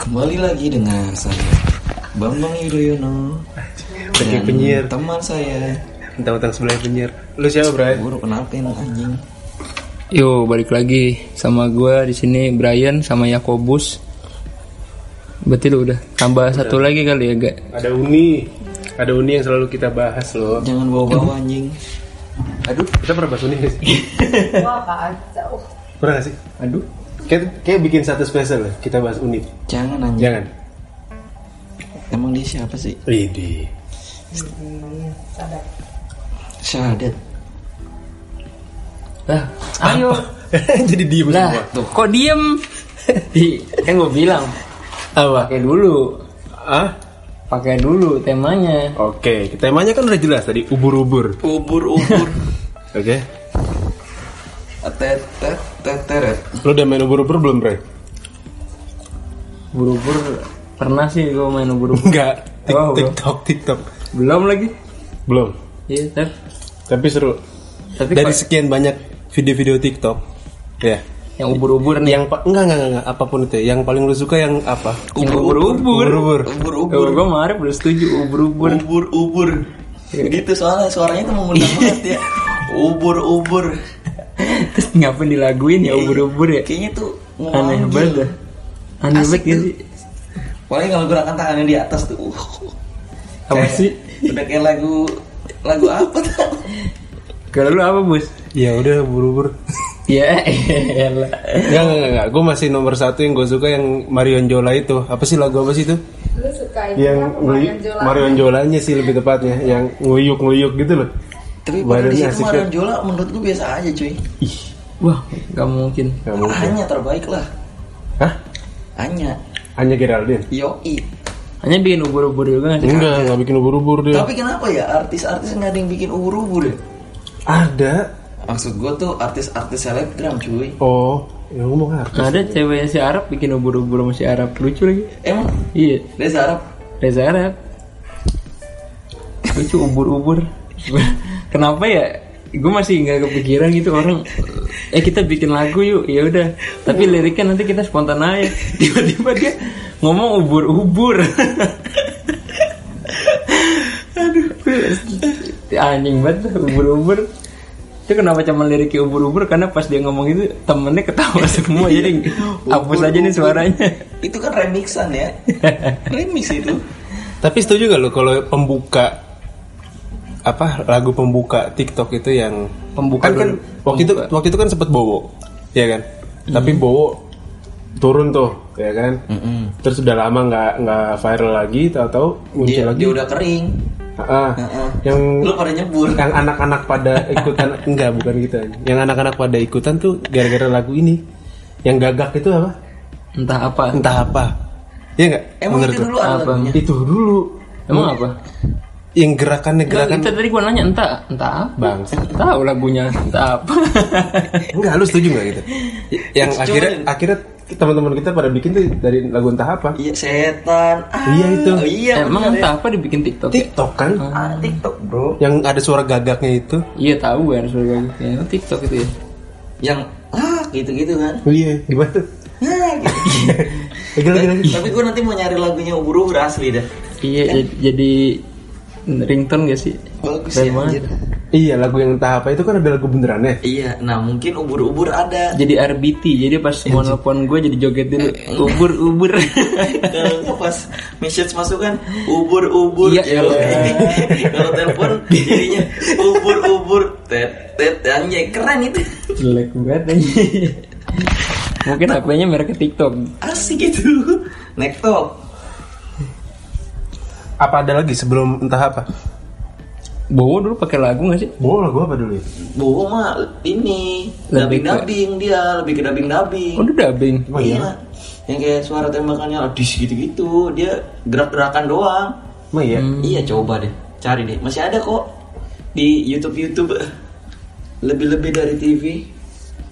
kembali lagi dengan saya Bambang Yudhoyono Pergi Ya. penyihir. teman saya Tentang-tentang sebelah penyihir. Lu siapa, Bray? guru kenalin anjing Yo, balik lagi sama gua di sini Brian sama Yakobus. Berarti lu udah tambah satu lagi kali ya, Gak? Ada Uni. Ada Uni yang selalu kita bahas loh. jangan bawa-bawa anjing Aduh, kita pernah bahas Uni nggak sih? Wah kacau. Pernah nggak sih? Aduh. Kayak, kayak bikin satu spesial loh, kita bahas Uni. jangan anjing Jangan. emang dia siapa sih Idi. syahadat Lah, ayo. Jadi diem Lah, semua. tuh. kok diem? Di, kan gua bilang Apa? pakai dulu, Ah? pakai dulu temanya. Oke, temanya kan udah jelas tadi ubur-ubur. ubur-ubur Oke. tet tet tet teret Lu udah main ubur-ubur belum, Bray? Buru-buru pernah sih gua main buru Enggak. Tik- Oh, belum. TikTok, TikTok. Belum lagi. Belum. Iya, Ter. Tapi seru. Tapi Dari kok sekian banyak video-video TikTok, ya. yang ubur-ubur nih. Yang pa- enggak, enggak, enggak, enggak, apapun itu. ya. Yang paling lu suka yang apa? Yang ubur-ubur. Ubur-ubur. Ubur. ubur-ubur Gua marah udah setuju ubur-ubur. ubur-ubur gitu soalnya suaranya tuh mengundang Iya. banget ya ubur-ubur Terus ngapain dilaguin ya ubur-ubur ya? kayaknya tuh Aneh ngewangi. banget ya. dah. Aneh Asik banget ya tuh. sih. Paling kalau gerakan tangannya di atas tuh. uh. Apa Kayak- sih? Udah kayak lagu lagu apa tuh? Kalau lu apa bus? Ya udah ubur-ubur. Ya elah. Enggak, enggak, enggak. Gue masih nomor satu yang gue suka yang Marion Jola itu. Apa sih lagu apa sih itu? Lu suka itu Yang kan Marion nguy- Jola? Marion Jolanya sih lebih tepatnya. Yang nguyuk-nguyuk gitu loh. Tapi pada di Badannya situ asik Marion banget. Jola menurut gue biasa aja cuy. Ih, Wah, gak mungkin. nggak mungkin. Hanya terbaik lah. Hah? Hanya Hanya Geraldine? Yoi. Hanya bikin ubur-ubur juga nggak sih? Enggak, enggak bikin ubur-ubur dia. Tapi kenapa ya artis-artis nggak ada yang bikin ubur-ubur ya? Ada. Maksud gue tuh artis-artis selebgram cuy. Oh, ya ngomong Nggak artis. ada ceweknya si Arab bikin ubur-ubur sama si Arab lucu lagi. Emang Iya, Reza Arab Reza Arab. Lucu ubur-ubur. Kenapa ya? Gue masih nggak kepikiran gitu orang. Eh kita bikin lagu yuk, ya udah. Tapi liriknya nanti kita spontan aja. Tiba-tiba dia ngomong ubur-ubur. Aduh, anjing banget dah, ubur-ubur. Itu kenapa cuma liriknya ubur-ubur? Karena pas dia ngomong itu temennya ketawa semua jadi hapus aja nih suaranya. itu kan remixan ya. Remix itu. Tapi setuju gak lo kalau pembuka apa lagu pembuka TikTok itu yang kan, Pembuka kan dulu. waktu itu waktu itu kan sempet Bowo, ya kan? Tapi Bowo turun tuh, ya kan? Terus udah lama nggak nggak viral lagi, tahu-tahu muncul Dia, lagi. dia udah kering. Iya. Ah, Heeh. Yang Lu pada nyebur. yang anak-anak pada ikutan enggak bukan gitu yang anak-anak pada ikutan tuh gara-gara lagu ini yang gagak itu apa Entah apa. entah apa ya enggak Emang Menurut itu lo? dulu ada Apa? lagunya. itu dulu Emang apa? yang gerakannya gerakan kan- Itu tadi gua nanya entah entah apa. bang Tahu lagunya entah apa. Eh, enggak lu setuju nggak gitu yang Setuju. akhirnya akhirnya teman-teman kita pada bikin tuh dari lagu entah apa Iya setan. Ah, Iya, itu. Iya bener Emang ya. entah apa dibikin TikTok. ya? TikTok kan Ah, TikTok bro. yang ada suara gagaknya itu Iya tahu kan suara lagu. Ya, emang TikTok itu ya. Yang ah gitu-gitu kan. Oh, iya gimana tuh Ah, gitu. lagi lagi lagi Tapi gue nanti mau nyari lagunya ubur-ubur asli dah. Iya jad- jadi ringtone gak sih? Bagus Keren ya. banget. anjir. iya lagu yang entah apa itu kan ada lagu benerannya Iya, nah mungkin ubur-ubur ada. Gitu. Jadi RBT, jadi pas Iya, mau nelfon gue jadi joget dulu Ubur-ubur Kalau nggak pas message masuk kan ubur-ubur. Iya, Yo. iya. Kalau telepon jadinya ubur-ubur tet tet anjay keren itu. Jelek banget aja Mungkin HP-nya merek TikTok Asik itu. Nektop. apa ada lagi sebelum entah apa Bowo dulu pakai lagu gak sih? Bowo lagu apa dulu ya? Bowo mah ini Lebih ke- dabing-dabing dia, lebih ke dabing-dabing. Oh udah dubbing Oh, iya. iya. Yang kayak suara tembakannya adis gitu-gitu. Dia gerak-gerakan doang. Emang iya? Hmm. Iya, coba deh. Cari deh. Masih ada kok di YouTube-YouTube. Lebih-lebih dari TV.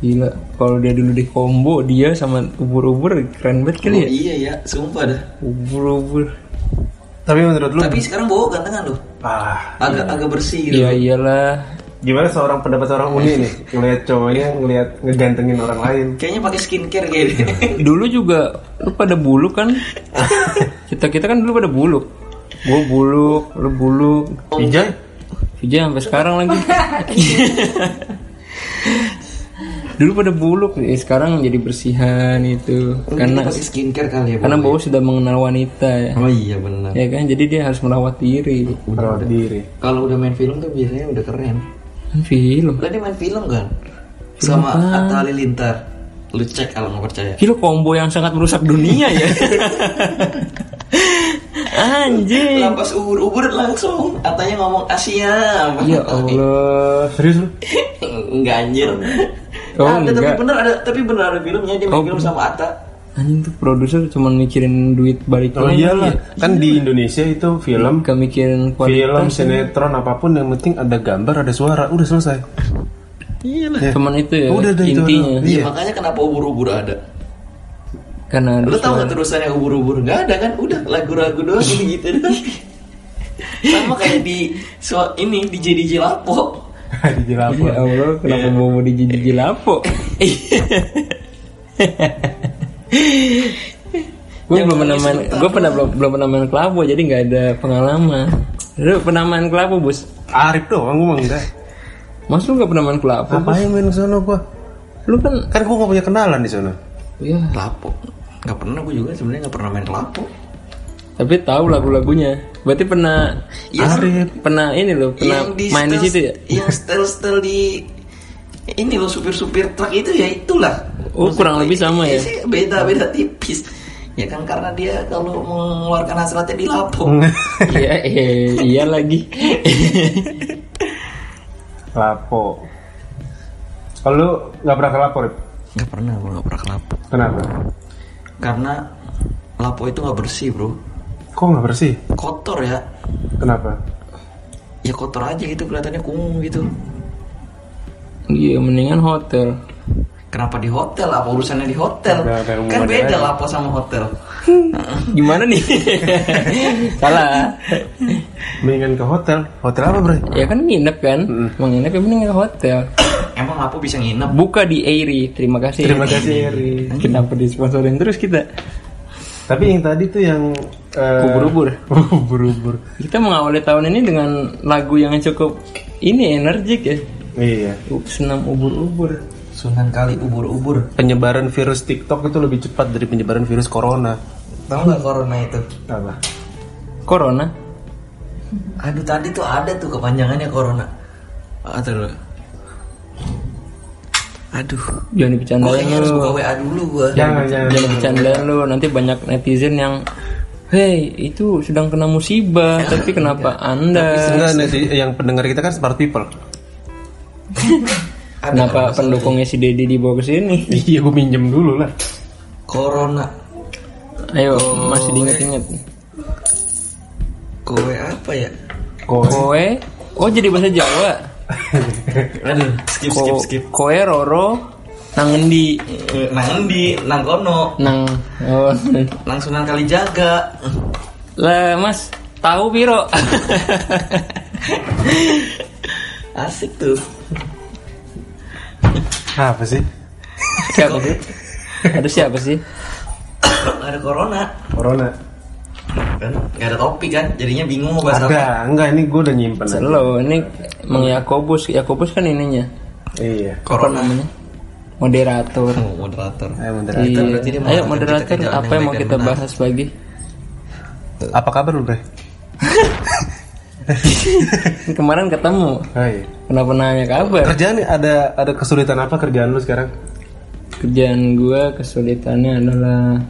Gila, kalau dia dulu di combo dia sama ubur-ubur keren banget kali Oh, ya. iya ya, sumpah dah. Ubur-ubur. Tapi menurut lu Tapi sekarang bawa gantengan loh. ah, Iya. Agak agak bersih gitu. Ya iyalah. gimana seorang pendapat seorang uni nih ngelihat cowoknya ngelihat ngegantengin orang lain Kayaknya pakai skincare Iya. kayaknya. dulu juga lu pada buluk kan kita kita kan dulu pada buluk gue buluk lu buluk Ijay Vijay sampai sekarang lagi dulu pada buluk eh, sekarang jadi bersihan itu Karena karena pakai skincare kali ya. karena Bang? bau sudah mengenal wanita ya Oh iya benar. ya kan jadi dia harus merawat diri merawat diri Kalau udah main film tuh biasanya udah keren. kan film Lah dia main film kan? Sama Atta Halilintar. Lu cek kalau mau percaya. Gila combo yang sangat merusak dunia ya anjing Lah pas ubur-ubur langsung Atanya ngomong Asia ya Allah Eh, serius lu Enggak anjir Oh, Ada tapi enggak. Oh, bener ada Tapi bener ada filmnya Dia main film sama Atta anjing tuh produser cuma mikirin duit balik oh lagi. iyalah kan di Indonesia itu film Gak mikirin film kualitas sinetron apapun yang penting ada gambar ada suara udah selesai Eh, Cuman itu ya Udah, udah, itu, intinya udah. Iya Iya. makanya kenapa ubur-ubur ada karena ada Lu tau suara. gak terusannya ubur-ubur Enggak ada kan Udah lagu-lagu doang gitu gitu doang Sama kayak di so, Ini di JDJ Lapo di jelapun ya Allah kenapa Iya. mau mau dijijiji lapo gue Yang belum pernah nulis main lu gue pernah belum belum pernah main kelabu jadi nggak ada pengalaman lu pernah main kelabu bos Arif doang gue mah enggak mas lu nggak pernah main kelabu Bos? ngapain main ke sana gua lu kan kan gua gak punya kenalan di sana ya Lapo Gak pernah gue juga sebenarnya gak pernah main Lapo tapi tahu lagu-lagunya berarti pernah Iya, Arif pernah ini lo pernah main di setel- situ ya Yang setel-setel di ini loh supir-supir truk itu ya itulah. Oh, kurang lebih sama ya? sih, Beda-beda tipis. Ya kan karena dia kalau mengeluarkan hasratnya di lapo. iya eh, iya lagi lapo kalau lu nggak pernah ke lapo Rip? Gak pernah, gue gak pernah ke lapo. kenapa Karena lapo itu gak bersih bro. kok nggak bersih Kotor ya. kenapa Ya kotor aja gitu kelihatannya kumuh gitu. iya mendingan hotel Kenapa di hotel? Apa urusannya di hotel? Ada- ada kan hubungannya beda aja. lapo sama hotel. gimana nih salah mendingan ke hotel hotel apa bro ya kan nginep kan Hmm. mau nginep ya mending ke hotel Emang lapo bisa nginep? buka di Airi terima kasih terima kasih Eri kenapa disponsorin terus kita tapi yang tadi tuh yang eh, Ubur-ubur. ubur-ubur kita mengawali tahun ini dengan lagu yang cukup ini energik ya iya senam ubur-ubur Sunan kali ubur-ubur. penyebaran virus TikTok itu lebih cepat dari penyebaran virus corona Tahu nggak corona itu? apa corona Aduh tadi tuh ada tuh kepanjangannya corona. Ah, Aduh. Aduh. jangan Gue dibercandain kayaknya harus buka lu WA dulu gua. jangan jangan jangan bercandain lu nanti banyak netizen yang Hei, itu sedang kena musibah, tapi kenapa Anda? Enggak, nanti yang pendengar kita kan smart people. Kenapa pendukungnya si Dedi dibawa ke sini? Iya, gue minjem dulu lah. Corona. Ayo, Oh, masih diinget-inget. Kowe apa ya? Kok Koe, oh jadi bahasa Jawa. Aduh, skip skip Ko- skip. Koe roro nang endi? Nang di nang kono, Nang oh. nang Sunan Kalijaga. Lah, Mas, tahu piro? Asik tuh. apa sih? siapa sih? Ada siapa sih? ada corona. Corona. Kan nggak ada topik kan, jadinya bingung mau bahas apa. Ada, enggak ini gue udah nyimpen. aja. Selo, ini Mang Yakobus. Yakobus kan ininya. Iya. Corona. Moderator. Oh, moderator. Ayo, bentar. Iya. berarti dia Ayo mengarahkan moderator, kita ke jalan apa yang yang mau baik kita dan benar. bahas pagi? Apa kabar lu, Bre? Kemarin ketemu. Hai. Kenapa nanya kabar? Kerjaan ada ada kesulitan apa kerjaan lu sekarang? kerjaan gue kesulitannya adalah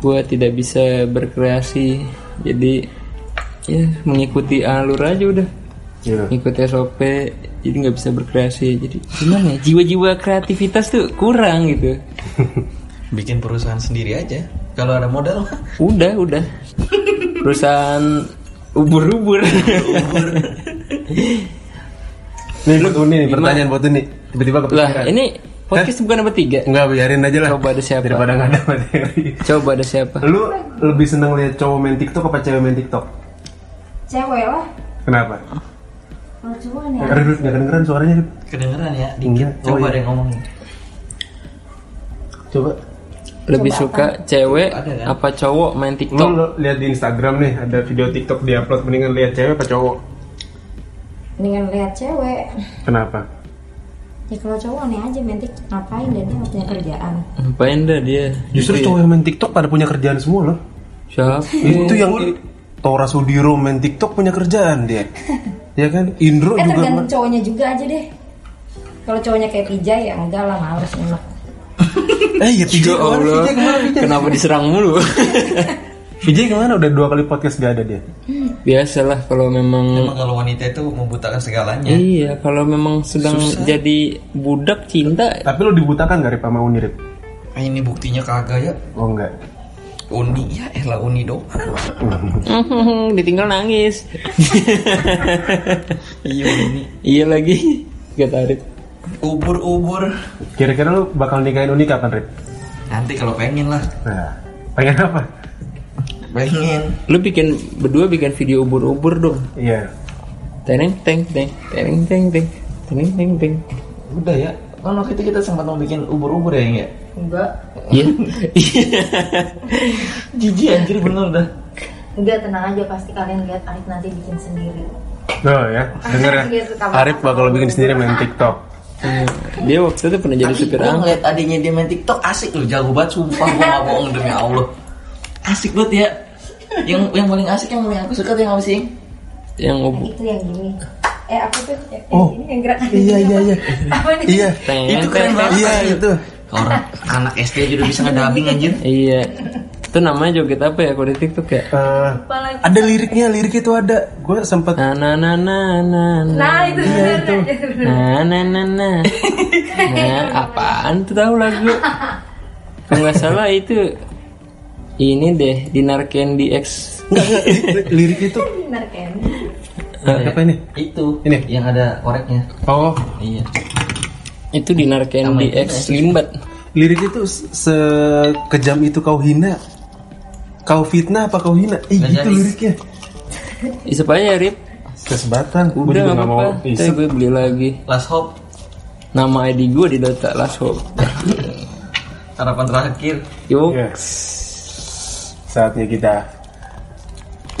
gue tidak bisa berkreasi jadi ya mengikuti alur aja udah Iya. mengikuti SOP jadi nggak bisa berkreasi jadi gimana ya jiwa-jiwa kreativitas tuh kurang gitu Bikin perusahaan sendiri aja. Kalau ada modal mah. udah udah perusahaan ubur-ubur Nih, buat Uni, nih, pertanyaan buat Uni. Tiba-tiba lah kepikiran. ini podcast bukan apa tiga Enggak, biarin aja lah. Coba ada siapa? Daripada enggak ada materi. coba ada siapa Lu lebih seneng lihat cowok main TikTok apa cewek main TikTok? Cewek lah. Kenapa? Lucuan ya. Nggak keren- nggak kedengeran suaranya Rip. Kedengeran ya, dikit. Iya. Oh, Coba iya. deh ngomongin. Coba lebih suka cewek Ada kan? apa cowok main lu, TikTok? lu lihat di Instagram nih ada video TikTok diupload mendingan lihat cewek apa cowok? Mendingan lihat cewek. Kenapa? Ya kalau cowok aneh aja mentik ngapain dan dia nggak punya kerjaan. Ngapain dah dia? Justru cowok yang main TikTok pada punya kerjaan semua loh. Siapa? Itu ya. yang Tora Sudiro main TikTok punya kerjaan dia. ya kan? Indro Eh juga tergantung cowoknya juga aja deh. Kalau cowoknya kayak pijay ya enggak lah males enak. Eh ya Vijay Ya kemana? Allah, Vijay kemana? kenapa diserang mulu? Vijay kemana? Udah dua kali podcast gak ada dia. Biasalah kalau memang Emang ya? kalau wanita itu membutakan segalanya. Iya, kalau memang sedang jadi budak cinta, Tapi lu dibutakan gak Rip sama Uni Rip? Ah, Ini buktinya kagak ya. Oh enggak. Uni ya, elah Uni dong. ditinggal nangis. iya Uni. iya lagi, gak tarik. Ubur-ubur. Kira-kira lu bakal nikahin Uni kapan Rip? Nanti kalau pengen lah. Nah, pengen apa? Pengen. Lu bikin berdua bikin video ubur-ubur dong. Iya. Teneng teng teng, teneng teng teng, teneng teng teng. Udah ya. Kan waktu itu kita sempat mau bikin ubur-ubur ya, enggak? Enggak. Iya. Jijik anjir bener dah. Enggak tenang aja pasti kalian lihat Arif nanti bikin sendiri. Oh ya, denger ya. Arif bakal bikin sendiri main TikTok. Dia waktu itu pernah jadi Tapi supir gua angkot. ngeliat adiknya dia main TikTok asik loh, jago banget sumpah gua gak bohong demi Allah. Asik banget ya. Yang yang paling asik yang paling aku suka tuh yang apa sih? yang ubur. Nah, Itu yang gini. Eh apa tuh? Ya, Oh. Ini yang gerak. Iya, iya, iya. Apa nih? Iya. Teng, Itu keren teng, banget. Iya, itu. Orang anak SD aja udah bisa ngedabing anjir. Iya. Itu namanya joget apa ya kalau di TikTok ya? Eh, ada liriknya, liriknya itu ada. Gue sempet Na na na na na. na. Nah itu Iya, bener Na na na na. Nah, apaan tuh tahu lagu? Kalau nggak salah itu ini deh Dinar Candy X. Enggak, enggak. li- Liriknya itu Bener kan? Iya. eh, apa ini? Itu Ini? yang ada koreknya. Oh, Iya. Itu Dinar Candy Sama X Limbat. liriknya itu se- sekejam itu kau hina. Kau fitnah apa kau hina? Eh, Nggak gitu jadi. liriknya. Isep aja Rip. Kesebatan. Gue Udah juga nggak nggak apa-apa. mau Ntar isep. gue beli lagi. Last hope Nama ID gue di Dota Last Hope. harapan terakhir. Yuk. Yes. Iya. Saatnya kita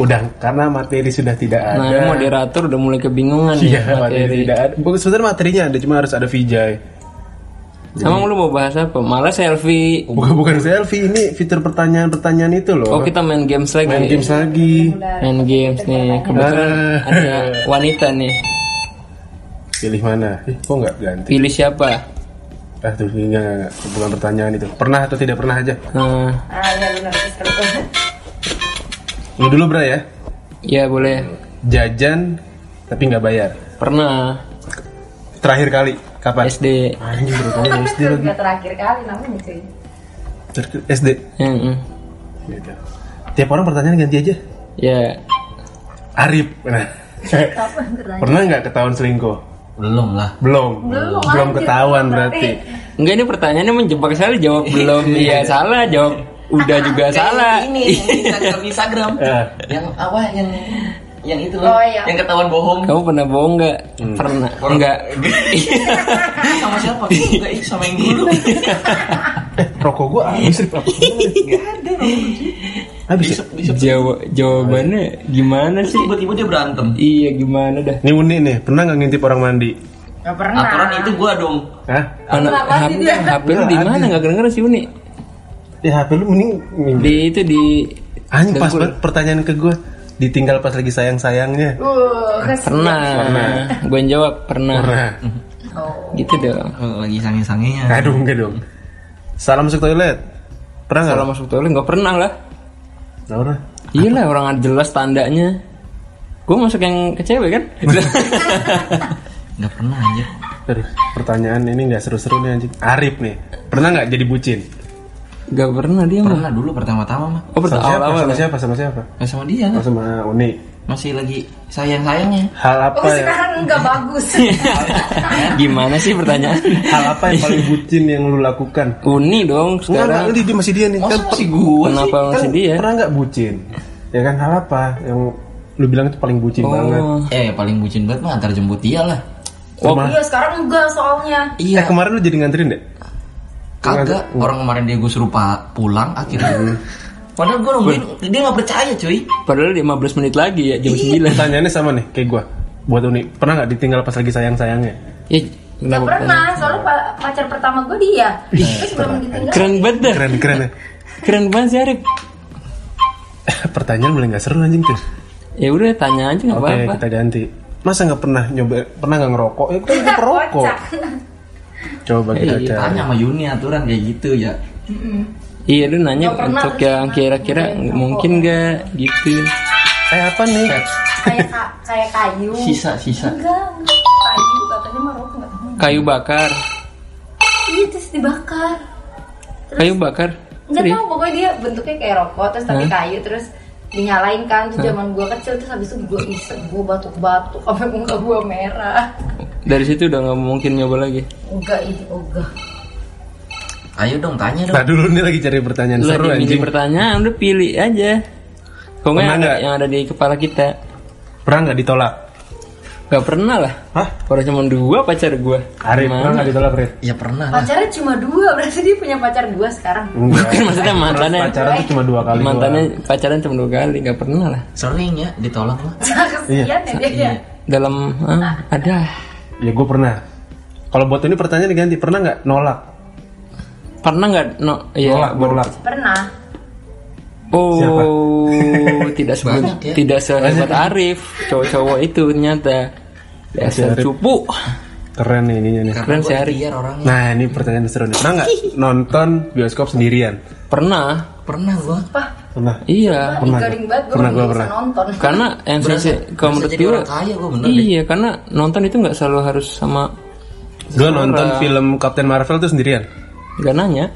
udah karena materi sudah tidak Nah, ada. moderator udah mulai kebingungan Iya, ya materi materi. tidak ada. Bukan sebenarnya materinya ada, cuma harus ada Vijay. Emang lu mau bahas apa? Malah selfie. Bukan bukan selfie, ini fitur pertanyaan-pertanyaan itu loh. Oh, kita main games lagi. Main games lagi. Main games nih. Kebetulan Ah. ada wanita nih. Pilih mana? Eh, kok nggak ganti? Pilih siapa? Ah, tuh, ini nggak, nggak, nggak. bukan pertanyaan itu. Pernah atau tidak pernah aja. Nah, Ah iya bener. Lu dulu, Bra, ya. ya boleh. Jajan, tapi nggak bayar. Pernah Terakhir kali, kapan? SD. Anjing, baru tahu dari SD lagi. Enggak terakhir kali namanya cuy. Ter- SD. Heeh. Gitu. Tiap orang pertanyaan ganti aja. Ya, Arif. Nah. Kapan bertanya? Pernah nggak ketahuan selingkuh? Belum lah. Belum. Belum, Belum anjir. ketahuan berarti. enggak ini pertanyaannya menjebak sekali. Jawab belum, iya salah. Jawab udah juga salah. Ini yang Instagram Instagram. Eh. yang apa yang yang itu loh. Oh, iya. Yang ketahuan bohong. Kamu pernah bohong nggak? Hmm. Pernah. Enggak. sama siapa? Enggak, ih, sama yang dulu. Eh, rokok gua habis, Rip. Apa? Habis ya? Jawa jawabannya gimana sih? Tiba-tiba dia berantem. Iya gimana dah? Ini unik nih, pernah nggak ngintip orang mandi? Gak pernah. Aturan itu gua dong. Hah? Anak Kenapa sih HP, dia? HP lu di mana? Enggak kedengeran sih Uni. Ya HP lu mending minggu. Di itu di Anjing pas banget pertanyaan ke gua ditinggal pas lagi sayang-sayangnya. Uh, kes- pernah. Gue jawab pernah. Pernah. Oh. Gitu dong. Lagi sange-sangenya. Aduh enggak dong. Salam masuk toilet. Pernah enggak? Kalau masuk toilet nggak pernah lah. Enggak pernah. Iya lah orang ada jelas tandanya. Gue masuk yang ke cewek kan? Enggak pernah aja. Aduh, pertanyaan ini enggak seru-seru nih anjing. Arif nih. Pernah enggak jadi bucin? Gak pernah dia mah. Pernah dulu pertama-tama mah. Oh pertama Sama siapa? awal Sama awal. siapa? Sama siapa? Nggak sama dia Oh, lah. sama Uni. Masih lagi sayang-sayangnya. Hal apa Oh ya? sekarang nggak bagus. Gimana sih pertanyaan? Hal apa yang paling bucin yang lu lakukan? Uni dong Enggak, enggak, sekarang. ini dia masih dia nih. Masa Kan masih gua sih? Kenapa masih dia? Pernah nggak bucin? Ya kan hal apa yang lu bilang itu paling bucin banget Oh. Eh paling bucin banget mah antar jemput dia lah. Oh, Iya sekarang enggak soalnya. eh kemarin lu jadi nganterin deh Kagak orang kemarin dia gue suruh pa- pulang akhirnya. Padahal gue nungguin dia nggak percaya cuy. Padahal 15 menit lagi ya Iya. jam 9. pertanyaannya sama nih kayak gua buat Uni pernah nggak ditinggal pas lagi sayang sayangnya Ya, Gak pernah, soalnya pa- pacar pertama gue dia. gitu Terus belum ditinggal. keren banget dah. keren keren ya Keren banget sih Arif. pertanyaan mulai nggak seru anjing tuh Ya udah tanya aja nggak oke apa-apa. kita ganti masa nggak pernah nyoba pernah nggak ngerokok ya kan gue perokok Kocak. coba kita Iya, cari Tanya sama Yuni aturan kayak gitu ya. Iya lu nanya Nggak pernah untuk sih, yang Mas. kira-kira Nggak mungkin nggak gitu. eh apa nih Kayak ka- kayak kayu. Sisa sisa. Enggak, kayu katanya maroko enggak. Kayu bakar. Iya terus dibakar. Kayu bakar. Enggak Serius? tahu pokoknya dia bentuknya kayak rokok terus tapi kayu terus dinyalain kan tuh zaman gua kecil terus habis itu gua iseng gua batuk-batuk sampai muka gua merah. Dari situ udah nggak mungkin nyoba lagi. Enggak itu enggak. Ayo dong tanya dong. nah dulu nih lagi cari pertanyaan Lu seru lagi milih anjing pertanyaan udah pilih aja. Kok nggak Pernah ada- nggak? yang ada di kepala kita? pernah nggak ditolak Gak pernah lah. hah Orang cuma dua pacar gua. Arif Mana? pernah nggak ditolak Arif Ya pernah lah. Pacarnya cuma dua, berarti dia punya pacar dua sekarang. Enggak. Bukan maksudnya mantannya. pacaran tuh cuma dua kali mantannya pacaran cuma dua kali, gak pernah lah. Sering ya ditolak lah. Kasihan ya dia. ya. Dalam ah, ada doang. ya gue pernah kalau buat ini pertanyaan diganti pernah nggak nolak pernah nggak? No, iya. nolak nolak Pernah. Oh, Siapa? tidak sebelum, Banyak ya. tidak sehebat Arif. Cowok-cowok itu ternyata dasar Arif. cupu. keren nih ininya nih Keren Karena sih, gue Ari. ikhtiar orangnya. nah ini pertanyaan seru nih pernah nggak nonton bioskop sendirian Pernah? Pernah gue. Pah, pernah Iya. Pernah. garing banget gua Pernah, belum gua bisa pernah. nonton. Karena yang Berasa- saya berasa kalau menurut jadi gua- orang kaya gua bener deh. Iya, karena nonton itu nggak selalu harus sama gue nonton film Captain Marvel tuh sendirian gak nanya.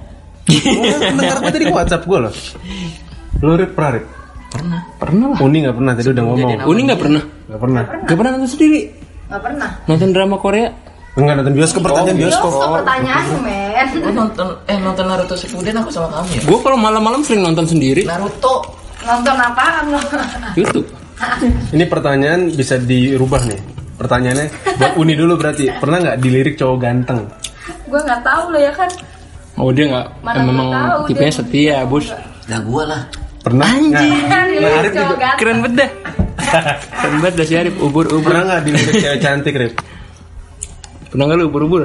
Bentar gue tadi ke WhatsApp gue loh. Lu Rip pernah Rip? Pernah. Pernah lah. Uni gak pernah tadi udah ngomong. Uni nggak pernah. Gak pernah. Gak pernah nonton sendiri. Enggak pernah. Nonton drama Korea. Enggak nonton bioskop pertanyaan bioskop. Bioskop pertanyaan, men. Gue nonton eh nonton Naruto Shippuden aku sama kamu ya. Gue kalau malam-malam sering nonton sendiri. Nah. Naruto. Nonton apaan lo? YouTube. Ini pertanyaan bisa dirubah nih. Pertanyaannya buat Uni dulu berarti. Pernah nggak dilirik cowok ganteng? Gua nggak tahu lo ya kan. Oh dia nggak Mana eh, gua memang tahu tipenya dia setia, bos. Nah gue lah. Pernah nggak? Kan Nah, dilirik Arif cowok juga- ganteng. Keren banget dah. Keren banget dah si Arif. Ubur-ubur. Pernah nggak dilirik cewek cantik Rip? Pernah nggak lu ubur-ubur?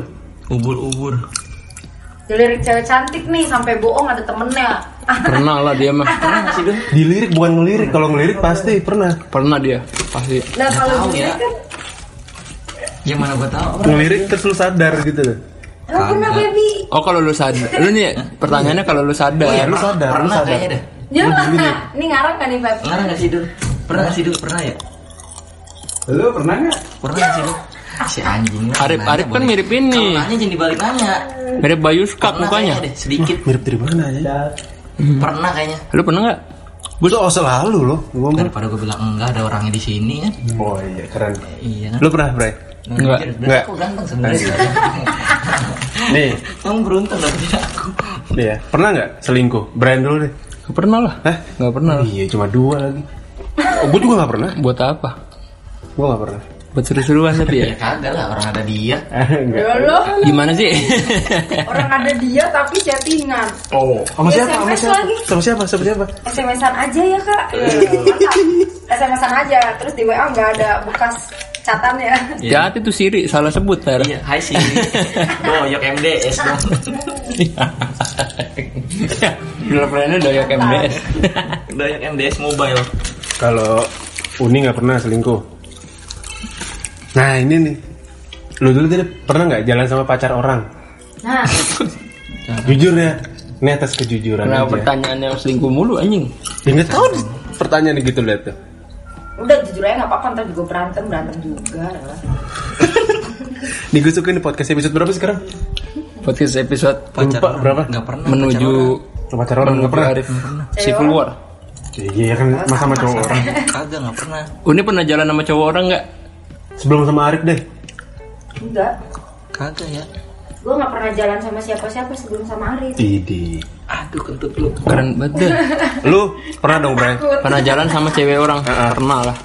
Ubur-ubur. Dilirik cewek cantik nih sampai bohong ada temennya. Ah, Pernah lah dia mah. Pernah nggak sih, Dun? Dilirik bukan ngelirik. Kalau ngelirik pasti pernah. Pernah dia. Pasti. Lah tahu kalau ya. dilirik kan Ya mana gue tahu. Ngelirik terus lu sadar gitu. loh. Lo pernah baby Oh kalau lu sadar. Lu nih pertanyaannya kalau lu sadar. Oh, iya, lu per- sadar, lu Pernah sadar. kayaknya deh. Jangan Ya. Ini ngarang kan nih Beb Pernah nggak sih Dul? Pernah nggak sih Dul? Pernah ya? Lu pernah nggak? Pernah nggak sih Dul? Si anjing. lah, Arif, nanya Arif kan boleh. mirip ini. Kalau nanya jangan dibalik nanya. Mirip Bayu Skak Pernah mukanya. Hmm. kayaknya deh, sedikit. Mirip dari mana ya? Pernah kayaknya. Lu pernah nggak? Gue tuh oh, selalu loh. Gue Daripada gue bilang enggak ada orangnya di sini kan. Oh iya keren. Iya kan. Lu pernah Bray? Enggak, enggak. Aku ganteng sebenarnya. Nih, Kamu beruntung lah punya aku. Iya, pernah nggak selingkuh? Brian dulu deh. Gak pernah lah. Hah? Gak pernah lah. Iya, cuma dua lagi. Oh, gue juga nggak pernah. Buat apa? Gue nggak pernah. Buat seru-seruan tapi ya. Ya kagak lah orang ada dia. Eh, Enggak. Ya lo Gimana sih? Orang ada dia tapi chattingan Oh, sama Iya, siapa? Sama SMS siapa? lagi. Sama siapa? Sama siapa? SMS-an aja ya kak Ya, mantap. SMS-an aja Terus di WA nggak ada bekas catannya Ya hati tuh Siri salah sebut Ter. Iya, hai sih. Boyok MDS dong. Girlfriendnya doyak MBS. Boyok MDS mobile. Kalau Uni nggak pernah selingkuh. Nah ini nih. Lu dulu tadi pernah nggak jalan sama pacar orang? Nah Jujur ya. Ini atas kejujuran aja. Kenapa pertanyaan yang selingkuh mulu anjing? Ya nggak tahu deh, pertanyaan gitu lihat tuh. udah jujur aja nggak apa-apa ntar juga berantem berantem juga lah. Nih gue suka nih podcast episode berapa sekarang? Podcast episode Lupa berapa? Enggak pernah. menuju Pacar orang nggak pernah. Arif. Civil War. Iya kan sama cowok orang. Eh, Kagak nggak pernah. Uni pernah jalan sama cowok orang nggak? Sebelum sama Arif deh. enggak Kagak ya. gue nggak pernah jalan sama siapa-siapa sebelum sama Arif Idi. Aduh kentut lu. Keren banget. deh. Lu pernah dong Brian? Pernah jalan sama cewek orang? Pernah lah.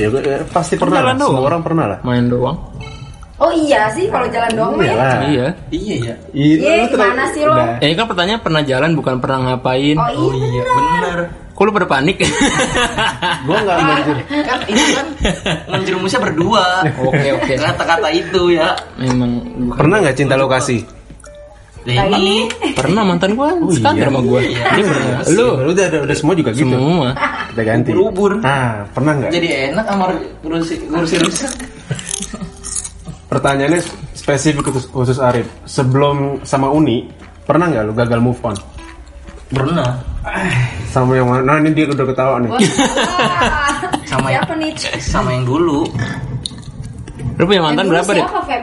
Ya gue eh, pasti pernah lah. Jalan doang. Semua orang pernah lah. main doang Oh iya sih kalau jalan doang mah ya. lah. iya Iya ya. Iya, Iya, lu terlalu- gimana sih lo? Udah. Eh kan pertanyaan pernah jalan bukan pernah ngapain. Oh Oh iya. iya benar. Kok lu pada panik? Nah, Gua nggak menjer. Kan ini kan menjerumusnya berdua. Oke, oke. Kata-kata itu ya. Memang bukan. Pernah nggak cinta lokasi? Ya ini Pernah mantan gua sekadar sama gua. Dia pernah. Lu Iya, Lu udah udah, udah semua juga gitu. semua. Kita ganti. Ubur-ubur. Nah, pernah nggak? jadi enak sama kursi kursi rusak. Pertanyaannya spesifik khusus, khusus Arif. Sebelum sama Uni, pernah nggak lu gagal move on? Pernah. Sama yang mana? Nah, ini dia udah ketawa nih. Wah. Sama ya. siapa nih? Sama yang dulu. Lu punya mantan Yang berapa, dulu Dek? Siapa Feb?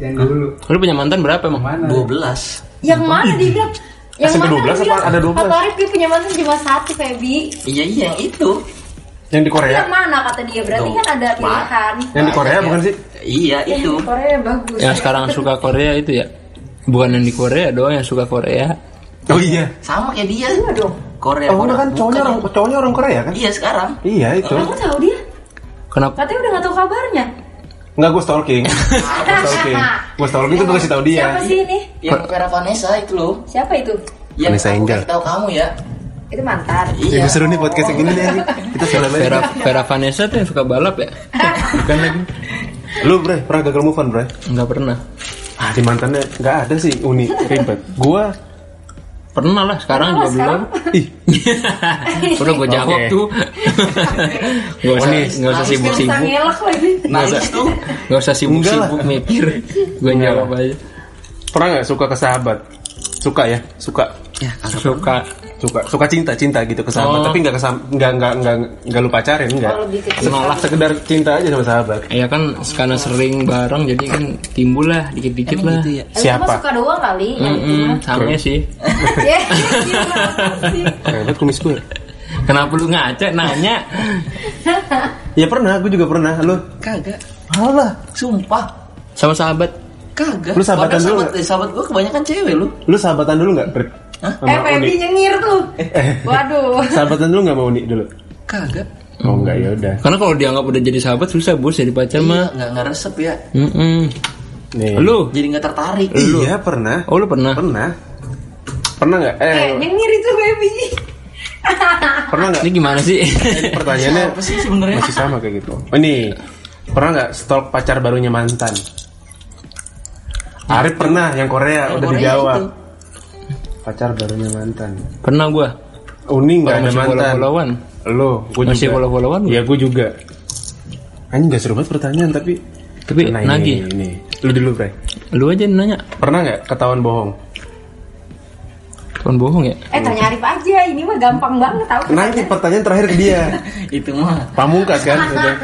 Yang dulu. Lu punya mantan berapa emang? Kan 12. Yang mana dia bilang? Yang SMP mana 12 dia apa bilang, ada 12? Kata Arif dia punya mantan cuma satu Febi. Iya iya yang itu. Yang di Korea? Yang mana kata dia? Berarti Tuh. kan ada pilihan. Eh, Yang di Korea bukan sih? Iya itu. Korea bagus. Yang sekarang suka Korea itu ya. Bukan yang di Korea doang yang suka Korea. Oh iya. Sama kayak dia. dong. Korea. Oh, Korea. kan cowoknya Bukan. orang cowoknya orang Korea kan? Iya sekarang. Iya itu. Kamu tahu dia? Kenapa? Katanya udah gak tahu kabarnya. Enggak gue stalking. gue stalking. Gue stalking itu gue kasih tahu dia. Siapa sih ini? Yang Vera Vanessa itu loh. Siapa itu? Yang Vanessa aku Angel. kasih tahu kamu ya. Itu mantan. Ya, Iya. gua seru nih podcast yang gini nih. anjing. Kita salam aja. Vera, Vera Vanessa tuh yang suka balap ya? Bukan lagi. Lu bre, pernah gagal move on bre? Enggak pernah. Ah di mantannya nggak ada sih uni ribet. Gue Pernah lah, sekarang Pernah juga lah, belum. ih Udah gua jawab Oke. tuh. Gak usah, Nangis. nggak usah Terus sibuk-sibuk. ngelak lagi. Nggak usah, Nangis tuh. nggak usah ya. sibuk-sibuk Enggak lah. mikir. Gue Enggak jawab aja. pernah nggak suka ke sahabat? Suka ya, suka, Ya, Suka. suka, suka cinta cinta gitu ke sahabat. Oh. Tapi nggak kesam, nggak nggak nggak nggak lu pacarin nggak. Oh, lebih ke cinta. Malah sekedar cinta aja sama sahabat. Ya kan karena sering bareng jadi kan timbul lah dikit-dikit lah. gitu ya. Eh, Siapa? cuma suka doang kali. yang itu gitu Mm-mm, mah. sama sih. Ya, gila, apa sih? Nah, lihat kumis gue. Kenapa lu ngaca nanya? Ya pernah, gue juga pernah. Lu, Kagak. alah, Sumpah. Sama sahabat. Kagak. Lu sahabatan Padahal dulu sahabat, eh, sahabat gue kebanyakan cewek lu. lu sahabatan dulu nggak? Bre? Sama Eh. Eh, Febi Uni. nyengir tuh. Waduh. Sahabatan dulu nggak mau uni dulu? Kagak. Oh nggak ya udah. Karena kalau dianggap udah jadi sahabat susah bos jadi pacar Iya, mah. nggak nggak resep ya. Iya. Mm-mm. Nih. Lu? Jadi nggak tertarik. Iya pernah. Oh lu pernah? Iya. Pernah. Pernah nggak? Eh, Eh, nyengir itu Febi. pernah nggak? Ini gimana sih? Ini pertanyaannya Apa sih sebenarnya? masih sama kayak gitu. Oh, ini pernah nggak stalk pacar barunya mantan? Arif pernah yang Korea udah Korea dijawab. itu. Pacar barunya mantan. pernah gua. Uni nggak Kalau ada masih mantan. follow-followan. Lo, gue juga. Masih follow-followan lu? Ya gue juga. Anjing nggak seru banget pertanyaan tapi. Tapi Nah, nagih. ini, ini. Lu dulu, Bre. Lu aja yang nanya. Pernah nggak ketahuan bohong? Tuan bohong ya? Eh, tanya Arif aja. Ini mah gampang banget tahu. Nah, ini pertanyaan terakhir ke dia. Itu mah. Pamungkas kan? Udah.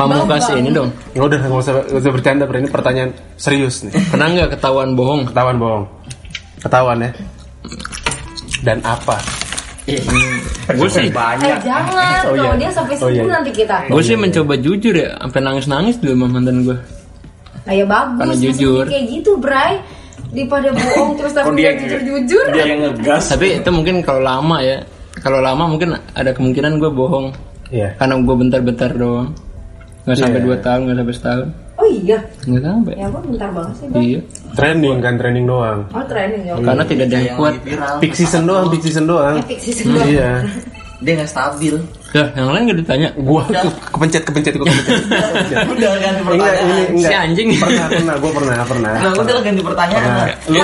Pamungkas ini dong. Ya udah nggak usah, nggak usah bercanda Bre. Ini pertanyaan serius nih. Pernah nggak ketahuan bohong? Ketahuan bohong. Ketahuan ya. Dan apa? Gue sih, Eh, jangan. Oh, iya. Kalau dia sampai Oh, iya. sembuh nanti kita. gue sih mencoba jujur ya, sampai nangis-nangis dulu sama mantan gue. Nah, ya bagus. Karena Masa jujur. Kayak gitu, Bray. Daripada bohong terus tapi dia dia jujur-jujur. Dia yang ngegas. Tapi itu mungkin kalau lama ya, kalau lama mungkin ada kemungkinan gue bohong, Iya. karena gue bentar-bentar doang, nggak sampai Iya. dua tahun, nggak sampai setahun, Oh iya. nggak sampai. Ya ampun, bentar banget sih, Bang. Iya, Trending kan trending doang. Oh, training Iya. ya. karena tidak ada yang kuat. viral. Peak season doang, peak season doang. Epic sih Hmm, sebenernya. Iya. Dia nggak stabil. Ya, yang lain nggak ditanya. Gua ke- kepencet kepencet gua kepencet. Udah ganti Enggak, ini pertanyaan. enggak. Si anjing. Pernah, pernah, gua pernah, pernah. Nah, udah lah, ganti pertanyaan. lah. Lu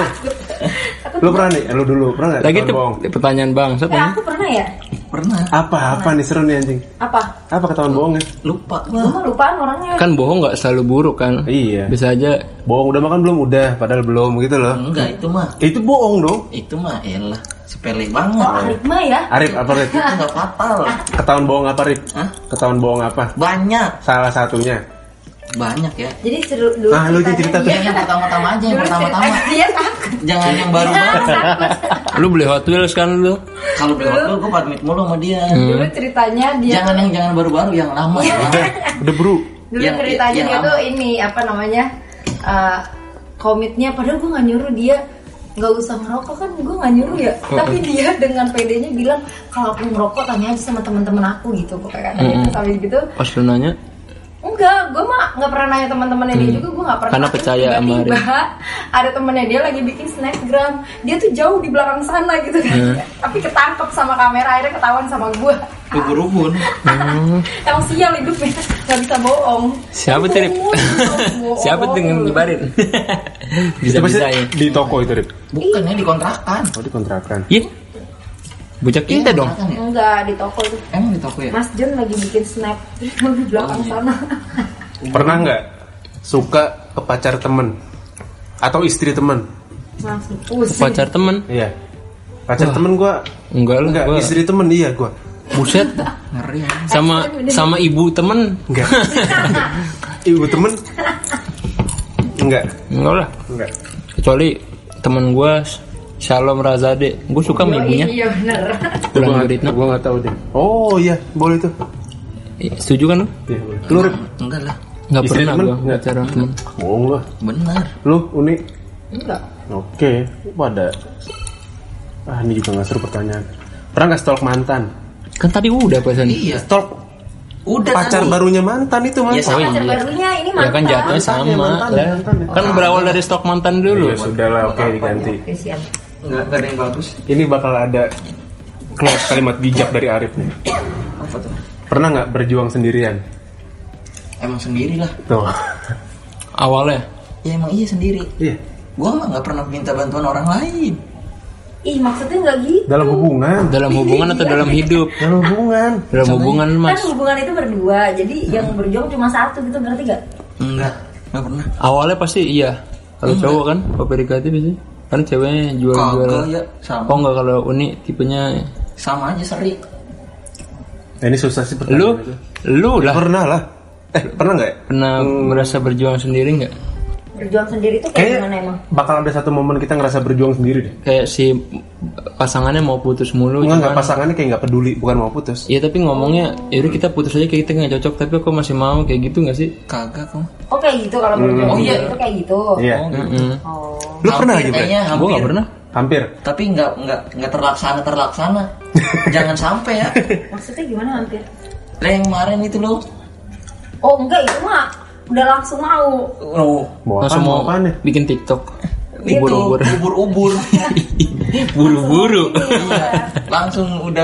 Lu pernah nih? Lu dulu pernah enggak? Lagi tuh pertanyaan Iya, bangsat Eh, ya. aku pernah ya? Pernah. Apa apa nih seru nih anjing? Apa? Apa ketahuan ya? bohongnya? Lupa. Gue mah lupaan orangnya. Kan bohong nggak selalu buruk kan? Iya. Bisa aja. Bohong udah makan belum? Udah, padahal belum gitu loh. Enggak, itu mah. Itu bohong dong. Itu mah elah. Sepele Oh, banget. Arif mah ya. Arif apa Rif? Itu nggak fatal. Ketahuan bohong apa Rif? Hah? Ketahuan bohong apa? Banyak. Salah satunya. Banyak ya. Jadi seru dulu. Ah, lu ceritanya Iya, cerita tuh. dia. Iya, Yang pertama-tama aja, yang Dulu Iya, pertama-tama. Iya. ceritanya Dia takut. Eh, Jangan yang baru-baru. Lu beli Hot Wheels kan lu? Kalau beli waktu gue pamit mulu sama dia. Dulu ceritanya dia Jangan yang jangan baru-baru yang lama. Udah, udah bro. dulu Yang- ceritanya yang dia lama. tuh ini apa namanya eh, komitnya padahal gue nggak nyuruh dia nggak usah ngerokok kan gue nggak nyuruh ya Oh. tapi dia dengan pedenya bilang kalau aku ngerokok tanya aja sama teman-teman aku gitu pokoknya terus habis gitu Pas lu nanya, Enggak, gue mah nggak pernah nanya teman-temannya dia Mm. juga, gue nggak pernah. Karena percaya Terus sama dia. Tiba-tiba ada temennya dia lagi bikin snapgram, dia tuh jauh di belakang sana gitu kan. Mm. Tapi ketangkep sama kamera, akhirnya ketahuan sama gue. Keburuhun. Emang sial hidupnya, nggak bisa bohong. siapa tuh Rip? Siapa tuh yang nyebarin? bisa itu pasti bisa ya. di toko itu Rip Bukannya dikontrakan. oh dikontrakan Iya. Bocah kita dong. Kontrakan ya? Enggak di toko itu. Emang di toko ya? Mas John lagi bikin snap di Oh, belakang iya. sana. pernah nggak suka ke pacar temen atau istri temen Mas, pusing. Pacar temen? iya pacar temen gue Enggak lah. enggak gua. istri temen iya gue Buset. Ngeri ya. Sama sama ibu temen? enggak ibu temen enggak Enggak lah. enggak Kecuali temen gua Shalom Razade. Gue suka sama Oh, ibunya. Iya bener. Pulang dari Ritna. gue nggak tahu deh oh iya boleh tuh Setuju kan lu? iya boleh Lu Rip? Enggak lah. Enggak Istri pernah temen? gua Nggak. pacaran sama temen. bohong lu Bener. lu unik Enggak. oke pada ah ini juga nggak seru pertanyaan pernah nggak stalk mantan Kan tadi udah pesan. Iya. stalk Udah pacar tadi. barunya mantan itu mantan Oh Pacar iya. barunya ini Ya mantan. kan jatuhnya sama Mantan ya, mantan ya, lah. mantan ya. Kan berawal dari stok mantan dulu. ya sudah lah oke diganti Oke, siap. Enggak enggak ada yang bagus. ini bakal ada keluar kalimat bijak dari Arif nih Apa tuh? pernah nggak berjuang sendirian Emang sendiri lah. tuh Awalnya. Ya emang iya sendiri. iya Gua mah nggak pernah minta bantuan orang lain. Ih maksudnya nggak gitu. dalam hubungan Dalam hubungan atau dalam hidup? dalam hubungan Dalam hubungan Kan mas. Hmm. hubungan itu berdua, jadi yang berjuang cuma satu gitu ngerti gak? Enggak. Enggak pernah. Awalnya pasti iya. Kalau cowok kan, kalau PDKT biasanya. Kan ceweknya jual-jual. Kagak iya. ya sama. Oh enggak kalau Uni tipenya Sama aja seri. Nah, ini susah sih pertanyaan lu itu. lu lah pernah lah eh pernah nggak ya? pernah merasa berjuang sendiri nggak? Berjuang sendiri tuh kayak gimana kayaknya emang? bakal ada satu momen kita ngerasa berjuang sendiri deh Kayak si pasangannya mau putus mulu Enggak, enggak cuman- pasangannya kayak nggak peduli, bukan mau putus. Iya tapi ngomongnya, yaudah kita putus aja kayak kita nggak cocok tapi aku masih mau kayak gitu nggak sih? Kagak kok. Oh kayak gitu Hmm. kalau berjuang Oh, iya. sendiri tuh kayak gitu. Iya. Mm-mm. Oh. Lu pernah Hampir gitu? Kayaknya Gua hampir. nggak pernah. Hampir. Tapi nggak nggak nggak terlaksana terlaksana. Jangan sampai ya. Maksudnya gimana hampir? Lah, Yang kemarin itu lo. Oh enggak itu mah udah langsung mau. Oh, Mau apa? Langsung Mau mau apaan ya? bikin TikTok. itu Ubur-ubur. ubur-ubur. Buru-buru. Iya. Langsung udah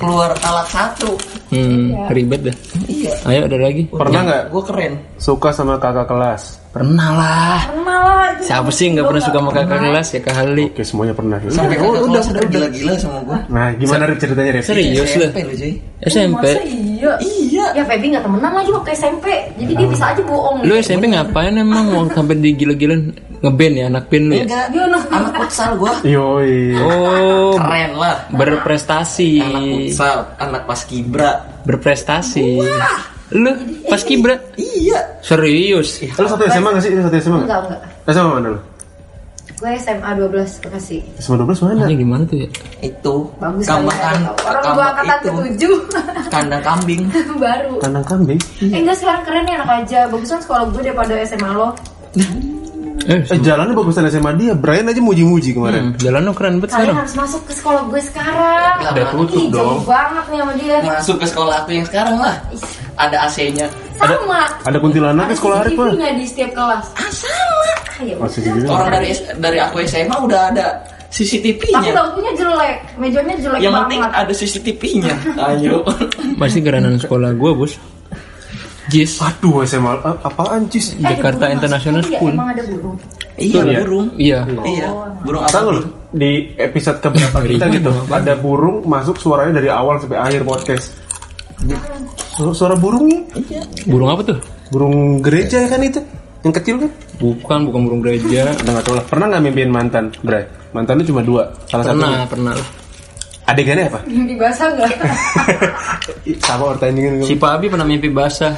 keluar talak satu. Hmm, ribet dah. Iya. Ayo ada lagi. Pernah nggak Gue keren. suka sama kakak kelas? Pernah lah. Pernah lah. itu. Siapa sih nggak Gua pernah suka sama kakak pernah. kelas ya Kak Hali? Oke, semuanya pernah. Sampai udah, udah, udah gila-gila sama gue. Nah, gimana Rip ceritanya Rip? Iya, Serius lu? SMP lu cuy. SMP. Masa iya. Iya. Ya Feby gak temenan lagi waktu SMP Jadi dia bisa aja bohong Iya. gitu. Lu SMP ngapain emang mau sampai digila-gilan ngeband ya anak band lu ya? Enggak. Anak futsal gue. Yoi. Oh, Iya. Keren lah. berprestasi. Anak futsal, anak paskibra. Berprestasi. Lu pas kibra Iya. serius. Lu satu SMA nggak sih? Lu Satu SMA Enggak nggak? enggak SMA mana lu? Gue SMA 12 Bekasi SMA 12 mana? Ini gimana tuh ya? Itu. Bagus kambang kali ya. kan, Orang gua angkatan kambang itu. ketujuh Kandang kambing. Baru Kandang kambing. Iya. Eh enggak sekarang keren nih anak aja Bagusan sekolah gue daripada SMA lo Eh, Eh, jalannya bagusan SMA dia. Brian aja muji-muji kemarin. hmm, jalan lu keren banget Kalian sekarang. harus masuk ke sekolah gue sekarang Udah tutup Ih, jauh dong. banget nih sama dia Masuk ke sekolah aku yang sekarang lah. Ada AC-nya. Sama Ada kuntilanak di sekolah Arif lah. CCTV-nya di setiap kelas Ah sama. Ya Masih gitu. Orang dari dari aku SMA udah ada Tapi CCTV-nya. lampunya jelek Mejanya jelek Yang penting banget ada CCTV-nya. Ayo. Pasti kerenan sekolah gua, Bos. Jis. Aduh, SMA eh, apaan cis? Eh, ada Jakarta burung International masuk. Iya, School. Emang ada burung Iya, ya? burung. Iya. Iya, Oh. burung apa? Tahu lu di episode keberapa kita gitu ada burung masuk suaranya dari awal sampai akhir podcast. Su- Suara burungnya, Burung apa tuh? burung gereja kan itu, yang kecil kan? Bukan, bukan burung gereja. Udah nggak tahu lah. Pernah nggak mimpiin mantan, Bray? Mantan lu cuma dua, salah satunya. Pernah, pernah. Adegannya apa? Mimpi basah nggak? Ih, Sama pertandingan Si Pak Abi pernah mimpi basah.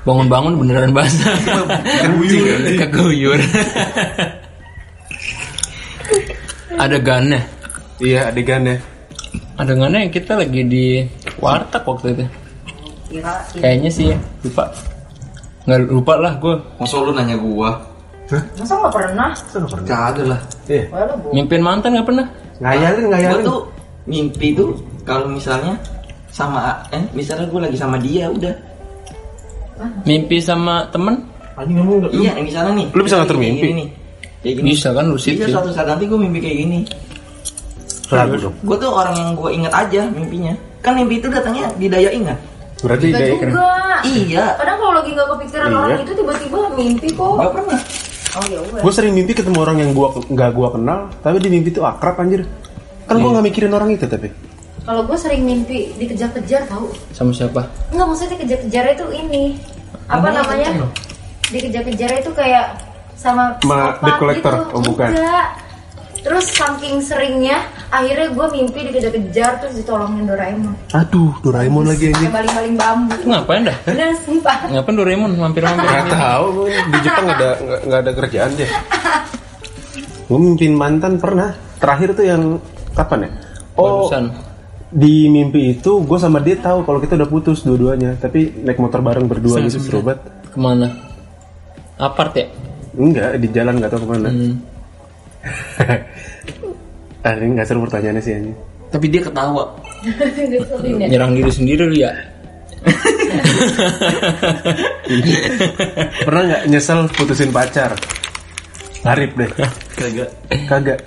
Bangun-bangun beneran basah. Kan Iya. Kan Keguyur. Ada gannya. Iya, adegannya. Ada gannya kita lagi di warteg waktu itu. Gila, Kayaknya sih ya, lupa. Nggak lupa lah gue. Masa lu nanya gua? Masa nggak pernah? Itu nggak pernah. Kagak lah. Iya. Wah lu bohong. Mimpin mantan nggak pernah? Ngayalin gue ngayalin. tuh mimpi tuh kalau misalnya sama eh misalnya gue lagi sama dia udah Mimpi sama temen? Anjing kamu nggak. iya misalnya nih Lu bisa misalnya ngatur kayak mimpi? gini nih kayak gini Bisa kan, lucid bisa sih. suatu saat nanti gue mimpi kayak gini Ragu dong. gue tuh orang yang gue inget aja mimpinya kan mimpi itu datangnya di daya ingat Berarti Gak dari juga. iya Kadang kalau lagi nggak kepikiran Iya. orang itu tiba-tiba mimpi kok. gak pernah Oh ya udah. Gue sering mimpi ketemu orang yang gua nggak gua kenal, tapi di mimpi tuh akrab anjir. Kan gua nggak mikirin orang itu tapi. Kalau gue sering mimpi dikejar-kejar tau. Sama siapa? Enggak maksudnya dikejar-kejar itu ini. Apa namanya? Dikejar-kejar itu kayak sama Ma- psikopat debt collector. gitu. Oh, bukan. Enggak. Terus saking seringnya akhirnya gue mimpi dikejar-kejar terus ditolongin Doraemon. Aduh, Doraemon lagi Kayak anjir. baling-baling bambu. Ngapain dah? Bener sumpah. Ngapain Doraemon mampir-mampir? Gak tahu, gua di Jepang nggak ada nggak- nggak ada kerjaan deh. Gue mimpin mantan pernah. Terakhir tuh yang kapan ya? Oh, Barusan. di mimpi itu gue sama dia tahu kalau kita udah putus dua-duanya, tapi naik motor bareng berdua gitu serobat. Kemana? Apart ya? Enggak, di jalan nggak tahu kemana. Hmm. ah, ini nggak seru pertanyaannya sih anjing. Tapi dia ketawa. Ngeselin ya. Nyerang diri sendiri lu ya? Pernah nggak nyesel putusin pacar? Arif deh. kagak Kagak.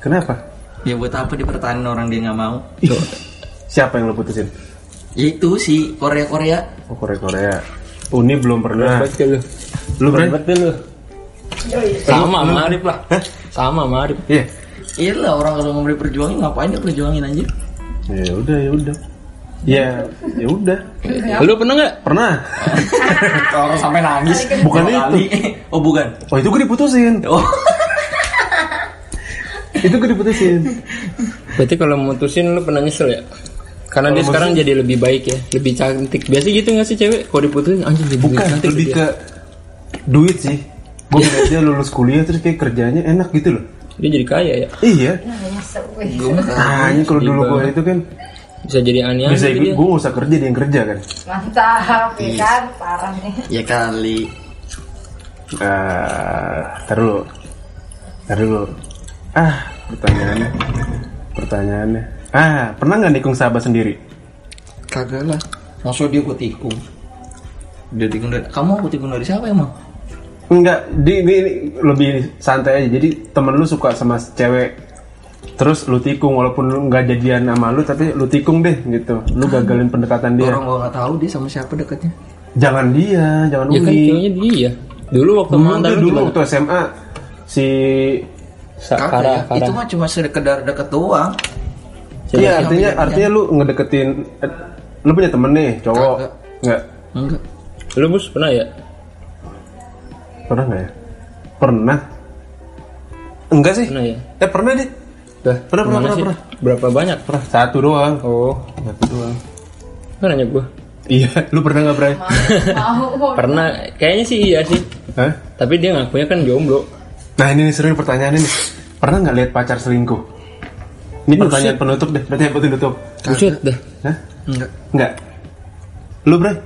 Kenapa? ya buat apa dipertahankan orang dia nggak mau Siapa yang lo putusin? ya itu si Korea Korea Oh, Korea Korea. Uni belum pernah. lu. Lu Bre? lu. Yoi. Sama sama Arif lah. Sama sama Arif. Iya. iya lah orang kalau nggak boleh perjuangin ngapain dia perjuangin anjir Ya udah, ya udah. Ya, ya udah. Lu pernah nggak? Pernah. Orang sampai nangis. Bukan Dua itu. kali. oh bukan Oh, itu gue diputusin. oh Itu gue diputusin. Berarti kalau mutusin lu pernah nyesel ya? Karena Kalau dia sekarang jadi lebih baik ya, lebih cantik. Biasa gitu nggak sih cewek? Kalau diputusin anjing jadi Bukan, cantik Iya, lebih dia. ke duit sih. Gue ngeliat dia lulus kuliah terus kayak kerjanya enak gitu loh. dia jadi kaya ya. Iya. Nah, nyesel, weh. Ah, ini kalau dulu gue itu kan Bisa jadi aneh bisa aja ikut dia. gue nggak usah kerja dia yang kerja kan. Mantap, ya kan? Parah nih. ya kali Eh, tar dulu. Tar dulu. Ah, pertanyaannya. Pertanyaannya. Ah, pernah nggak nikung sahabat sendiri? Kagak lah. Maksud dia gue tikung. Dia tikung dari kamu aku tikung dari siapa emang? Enggak, di, di, di- lebih santai aja. Jadi temen lu suka sama cewek, terus lu tikung walaupun lu nggak jadian sama lu, tapi lu tikung deh gitu. Lu gagalin pendekatan dia. Orang gue nggak tahu dia sama siapa dekatnya. Jangan dia, jangan Ya Uni. kan ceweknya dia. Dulu waktu dulu mantan dia lu dulu gimana? waktu SMA si Sa- Kagak Farah, ya. Farah. Itu mah cuma sekedar deket doang. Iya, artinya kan? artinya lu ngedeketin eh, lu punya temen nih cowok. Kagak. Enggak. Enggak. Lu bus pernah ya? Pernah nggak ya? Pernah. Enggak sih? Pernah ya? Eh pernah deh. Dah, Pernah, pernah, gimana pernah, sih? pernah. Berapa banyak? Pernah satu doang. Oh, Satu doang. kan nanya gua. Iya, lu pernah nggak Bray? Mau. Pernah kayaknya sih iya sih. Hah? Tapi dia ngakunya kan jomblo. Nah ini nih sering pertanyaan ini. Pernah nggak lihat pacar selingkuh? Ini pertanyaan penutup deh. Berarti aku tutup. Buset dah. Hah? Enggak. Enggak. Lu Bray?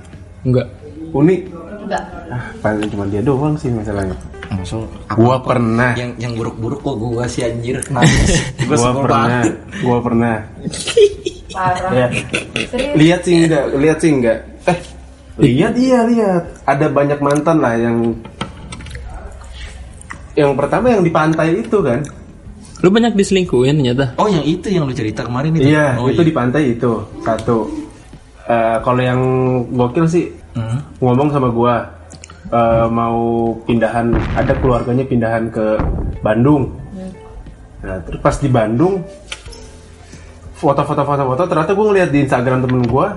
Enggak. Uni? Enggak. Ah, paling cuma dia doang sih masalahnya. Maksud Gua pernah. yang yang buruk-buruk kok gua si anjir nangis. gua Gua sebel pernah. banget. Gua pernah. Parah. Ya. Serius. Lihat sih enggak, lihat sih enggak. Eh, lihat iya lihat. Ada banyak mantan lah yang yang pertama yang di pantai itu kan. Lu banyak diselingkuhin ternyata. Oh yang itu yang lu cerita kemarin itu. Iya, oh, itu di pantai itu satu. Eh, kalau yang gokil sih Hmm. ngomong sama gua eh, mau pindahan, ada keluarganya pindahan ke Bandung. Nah, terus pas di Bandung foto-foto-foto-foto ternyata gua ngeliat di Instagram temen gua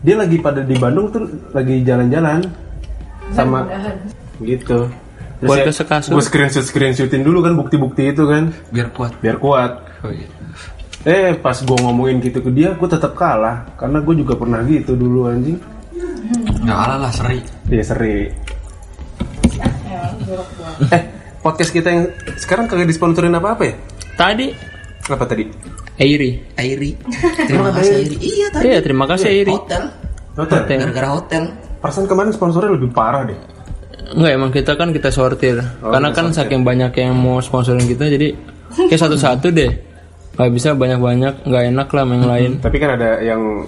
dia lagi pada di Bandung tuh lagi jalan-jalan sama gitu. Terus Keluarga ya, sekasur. gua screenshot screenshotin dulu kan bukti-bukti itu kan Biar kuat. biar kuat. Oh iya. Eh pas gue ngomongin gitu ke dia, gue tetap kalah karena gue juga pernah gitu dulu anjing. Enggak kalah lah seri. Dia seri. Emang jorok banget. Eh podcast kita yang sekarang kagak disponsorin apa apa ya? Tadi Apa tadi? Airi. Airi. Terima kasih Airi. Iya tadi. Iya, terima kasih Airi. Hotel. Hotel. Hotel. Gara-gara hotel. Perasaan kemarin sponsornya lebih parah deh. Enggak emang kita kan kita sortir Karena kan saking banyak yang mau sponsorin kita Jadi kayak satu-satu deh Gak bisa banyak-banyak Gak enak lah sama yang lain Tapi kan ada yang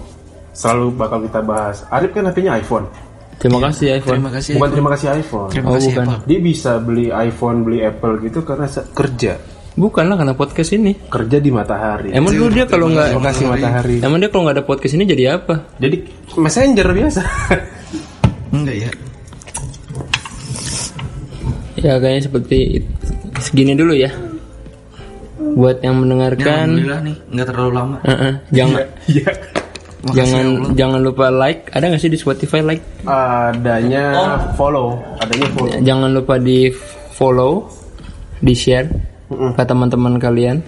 selalu bakal kita bahas. Arif kan HP-nya iPhone. Terima kasih ya Ivan Terima kasih. Bukan terima kasih iPhone. Terima Oh, kasih bukan. Apple. Dia bisa beli iPhone, beli Apple gitu karena se- kerja. Bukan lah karena podcast ini Kerja di matahari. Emang dulu dia kalau nggak Terima kasih matahari. Emang dia kalau nggak ada podcast ini jadi apa? Jadi messenger biasa. Enggak ya. Ya kayaknya seperti itu. segini dulu ya. Buat yang Ini mendengarkan, Alhamdulillah nih, nggak terlalu lama. eh, eh, jangan Iya. Makasih jangan ya Allah. jangan lupa like. Ada nggak sih di Spotify like? Adanya follow, adanya follow. Jangan lupa di follow, di share ke teman-teman kalian.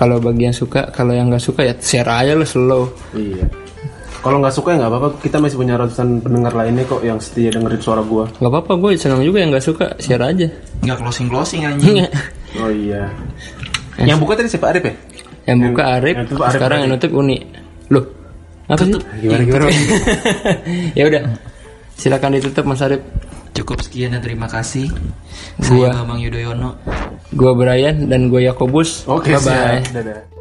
Kalau bagi yang suka, kalau yang nggak suka ya share aja lah slow. Iya. Kalau nggak suka ya nggak apa-apa. Kita masih punya ratusan pendengar lainnya kok yang setia dengerin suara gua. Gak apa-apa, gue senang juga yang nggak suka share aja. Nggak closing closing anjing. Oh iya. Yang buka tadi siapa Arif ya? yang buka Arif, yang tutup Arif sekarang yang nutup Uni. Loh, apa sih? Gimana gimana? ya udah, silakan ditutup Mas Arif. Cukup sekian dan terima kasih. Saya Gua. Bambang Yudhoyono. Gue Brian dan gue Yakobus. Oke, bye bye. siap. Dadah.